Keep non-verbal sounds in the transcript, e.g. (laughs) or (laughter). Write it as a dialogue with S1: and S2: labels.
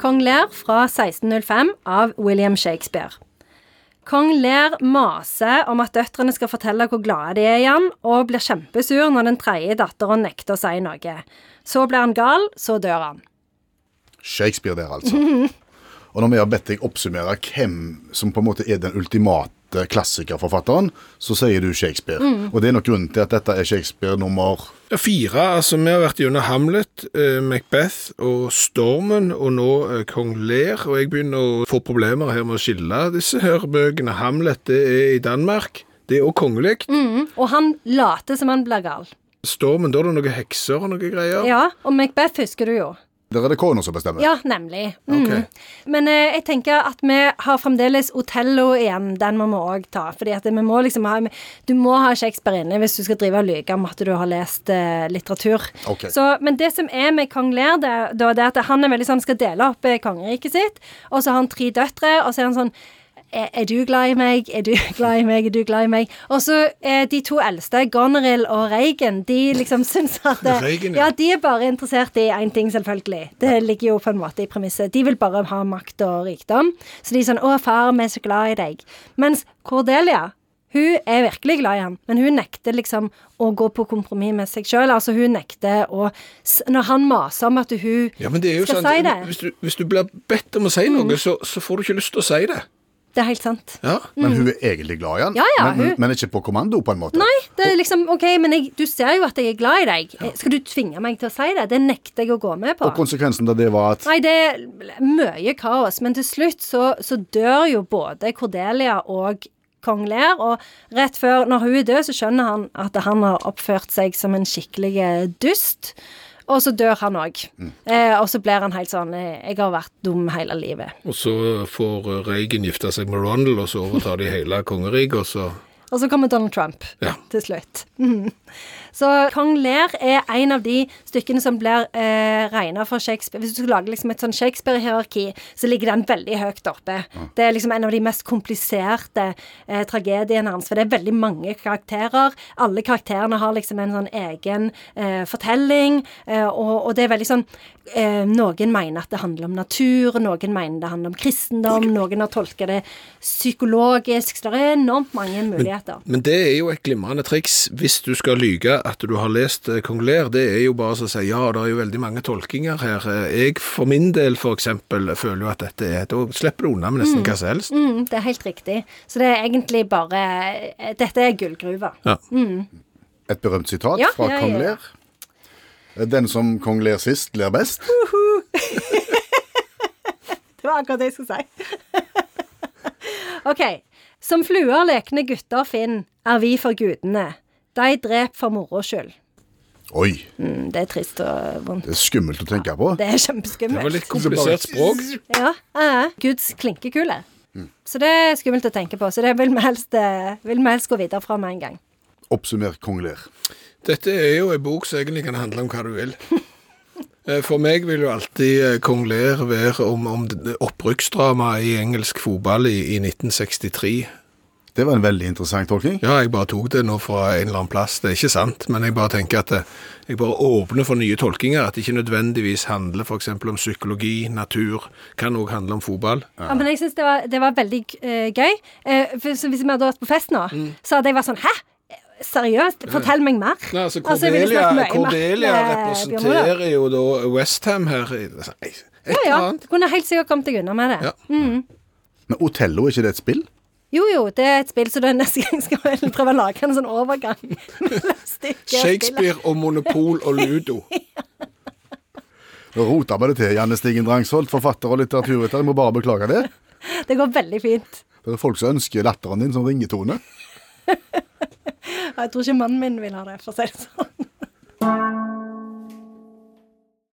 S1: Kong Lear fra 1605 av William Shakespeare. Kong Lear maser om at døtrene skal fortelle hvor glade de er i han, og blir kjempesur når den tredje datteren nekter å si noe. Så blir han gal, så dør han.
S2: Shakespeare der, altså. Og når vi har bedt deg oppsummere hvem som på en måte er den ultimate klassikerforfatteren, så sier du Shakespeare. Og det er nok grunnen til at dette er Shakespeare nummer
S3: Ja, Fire, altså vi har vært gjennom Hamlet, eh, Macbeth og Stormen, og nå eh, Kong Lear, og jeg begynner å få problemer her med å skille disse her bøkene. Hamlet, det er i Danmark, det er også kongelig.
S1: Mm. Og han later som han blir gal.
S3: Stormen, da er det noen hekser og noen greier.
S1: Ja, og Macbeth husker du jo.
S2: Der er det kona som bestemmer.
S1: Ja, nemlig. Mm.
S3: Ok.
S1: Men eh, jeg tenker at vi har fremdeles Otello igjen. Den må vi òg ta. Fordi at vi må liksom ha Du må ha Shakespeare inne hvis du skal drive og lyve om at du har lest eh, litteratur.
S2: Ok.
S1: Så, men det som er med kong Lear, det, er- da, det er at han er veldig sånn skal dele opp eh, kongeriket sitt, og så har han tre døtre, og så er han sånn er, er du glad i meg? Er du (laughs) glad i meg? Er du glad i meg? Og så eh, de to eldste, Goneril og Reagan, de liksom (laughs) syns at eh,
S3: Reagan, ja.
S1: ja, de er bare interessert i én ting, selvfølgelig. Det ligger jo på en måte i premisset. De vil bare ha makt og rikdom. Så de er sånn 'Å, far, vi er så glad i deg'. Mens Cordelia hun er virkelig glad i han, men hun nekter liksom å gå på kompromiss med seg sjøl. Altså, hun nekter å s- Når han maser om at hun
S3: Ja, men det er jo
S1: skal
S3: sant.
S1: si det Mm.
S3: Hvis du, hvis du blir bedt om å si noe, så, så får du ikke lyst til å si det.
S1: Det er helt sant.
S3: Ja.
S2: Men hun er egentlig glad i han.
S1: Ja, ja,
S2: men, men-
S1: hun-
S2: men ikke på kommando, på en måte.
S1: Nei, det er liksom OK, men jeg, du ser jo at jeg er glad i deg. Eh, Skal du tvinge meg til å si det? Det nekter jeg å gå med på.
S2: Og konsekvensen av det var at
S1: Nei, det er mye kaos, men til slutt så, så dør jo både Cordelia og kong Lear, og rett før, når hun er død, så skjønner han at han har oppført seg som en skikkelig eh, dust, og så dør han òg. Eh, og så blir han helt sånn eh, 'Jeg har vært dum hele livet'.
S3: Og så får eh, Reagan gifte seg med Ronald, og så overtar de hele kongeriket, og så
S1: Og så kommer Donald Trump
S3: Ja.
S1: (laughs) til slutt. Mhm. Så Kong Lear er en av de stykkene som blir eh, regna for Shakespeare Hvis du skal lage liksom et sånn Shakespeare-hierarki, så ligger den veldig høyt oppe. Det er liksom en av de mest kompliserte eh, tragediene hans, for det er veldig mange karakterer. Alle karakterene har liksom en sånn egen eh, fortelling, eh, og, og det er veldig sånn eh, Noen mener at det handler om natur, noen mener det handler om kristendom, noen har tolka det psykologisk, så det er enormt mange muligheter.
S3: Men det er jo et glimrende triks hvis du skal lyge at du har lest eh, Kong Lear. Det er jo bare å si ja, det er jo veldig mange tolkinger her. Eh, Jeg for min del f.eks. føler jo at dette er Da slipper du unna med nesten hva som helst.
S1: Mm, det er helt riktig. Så det er egentlig bare eh, Dette er gullgruva.
S3: Ja.
S2: Et berømt sitat
S1: Ja,
S2: fra
S1: ja,
S2: kong
S1: ja, ja.
S2: Lear. Den som kong Lear sist, ler best.
S1: Det var akkurat det jeg skulle si. (laughs) OK. Som fluer lekne gutter Finn, er vi for gudene. De drep for moro skyld.
S2: Oi,
S1: Mm, det er trist og vondt.
S2: det er skummelt å tenke på.
S1: Det er
S3: Det var litt
S1: kjempeskummelt.
S3: komplisert språk.
S1: (laughs) Ja, ja. Guds klinkekule.
S3: Mm.
S1: Så det er skummelt å tenke på. Så det vil vi helst, eh, vil vi helst gå videre fra med en gang.
S2: Oppsummer kong Lear.
S3: Dette er jo en bok som egentlig kan handle om hva du vil.
S1: (laughs)
S3: Eh, For meg vil jo alltid eh, Kong Lear være om, om det- opprykksdrama i engelsk fotball i, i 1963.
S2: Det var en veldig interessant tolkning.
S3: Ja, jeg bare tok det nå fra en eller annen plass. Det er ikke sant, men jeg bare tenker at eh, jeg bare åpner for nye tolkinger. At det ikke nødvendigvis handler f.eks. om psykologi, natur. Kan òg handle om fotball.
S1: Ja, men jeg synes det, var- det var veldig eh, gøy. Eh, for, så hvis vi hadde vært på fest nå,
S3: Mm.
S1: så hadde jeg vært sånn Hæ? Seriøst? Fortell meg mer.
S3: Nei, altså
S1: jeg ville
S3: Cordelia,
S1: snakket mye mer
S3: Cordelia
S1: med Eh, Bjørn Olav.
S3: representerer jo da Westham her. i- Et
S1: Ja,
S3: eller
S1: ja.
S3: annet.
S1: Du kunne helt sikkert kommet deg unna med det.
S3: Ja.
S2: Men Otello, er ikke det et spill?
S1: Jo, jo, det er et spill, så det er neste gang skal vi prøve å lage en sånn
S3: (laughs)
S1: overgang. mellom stykket og spillet.
S3: Shakespeare og Monopol og Ludo.
S2: Nå rota vi det til, Janne Stigen Drangsholt, forfatter og litteraturviter. Jeg må bare beklage det.
S1: Det går veldig fint.
S2: Det er folk som ønsker latteren din som ringetone.
S1: Og Jeg tror ikke mannen min vil ha det, for å si det sånn.